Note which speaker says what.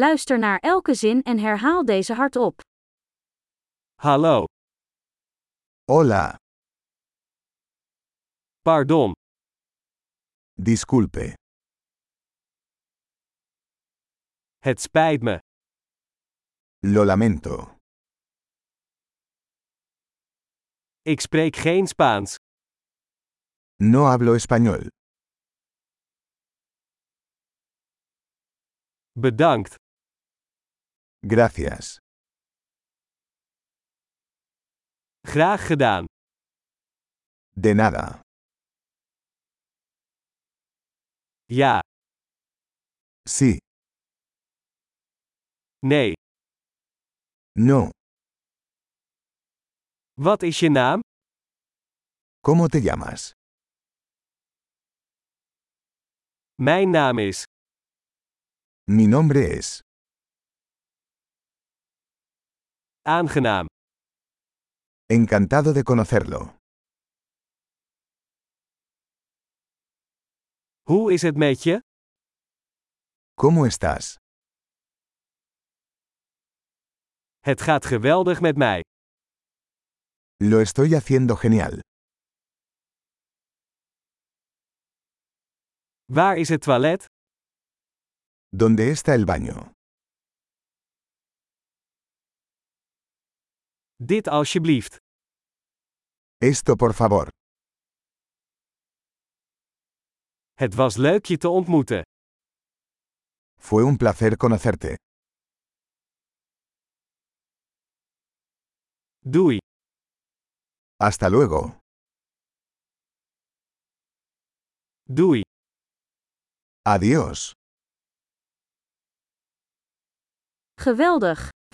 Speaker 1: Luister naar elke zin en herhaal deze hardop.
Speaker 2: Hallo,
Speaker 3: Hola,
Speaker 2: pardon,
Speaker 3: disculpe,
Speaker 2: het spijt me,
Speaker 3: lo lamento.
Speaker 2: ik spreek geen Spaans.
Speaker 3: No hablo español.
Speaker 2: Bedankt,
Speaker 3: Gracias.
Speaker 2: graag gedaan.
Speaker 3: De nada.
Speaker 2: Ja,
Speaker 3: Sí,
Speaker 2: nee,
Speaker 3: no.
Speaker 2: wat is je naam?
Speaker 3: ¿Cómo te llamas?
Speaker 2: Mijn naam is.
Speaker 3: Mi nombre es.
Speaker 2: Aangenaam,
Speaker 3: Encantado de conocerlo.
Speaker 2: hoe is het met je?
Speaker 3: ¿Cómo estás?
Speaker 2: Het gaat geweldig met mij.
Speaker 3: Lo estoy haciendo genial.
Speaker 2: Waar is het toilet?
Speaker 3: ¿Dónde está el baño?
Speaker 2: Dit alsjeblieft.
Speaker 3: Esto por favor.
Speaker 2: Het was leuk je te ontmoeten.
Speaker 3: Fue un placer conocerte.
Speaker 2: Doei.
Speaker 3: Hasta luego.
Speaker 2: Doei.
Speaker 3: Adiós.
Speaker 1: Geweldig!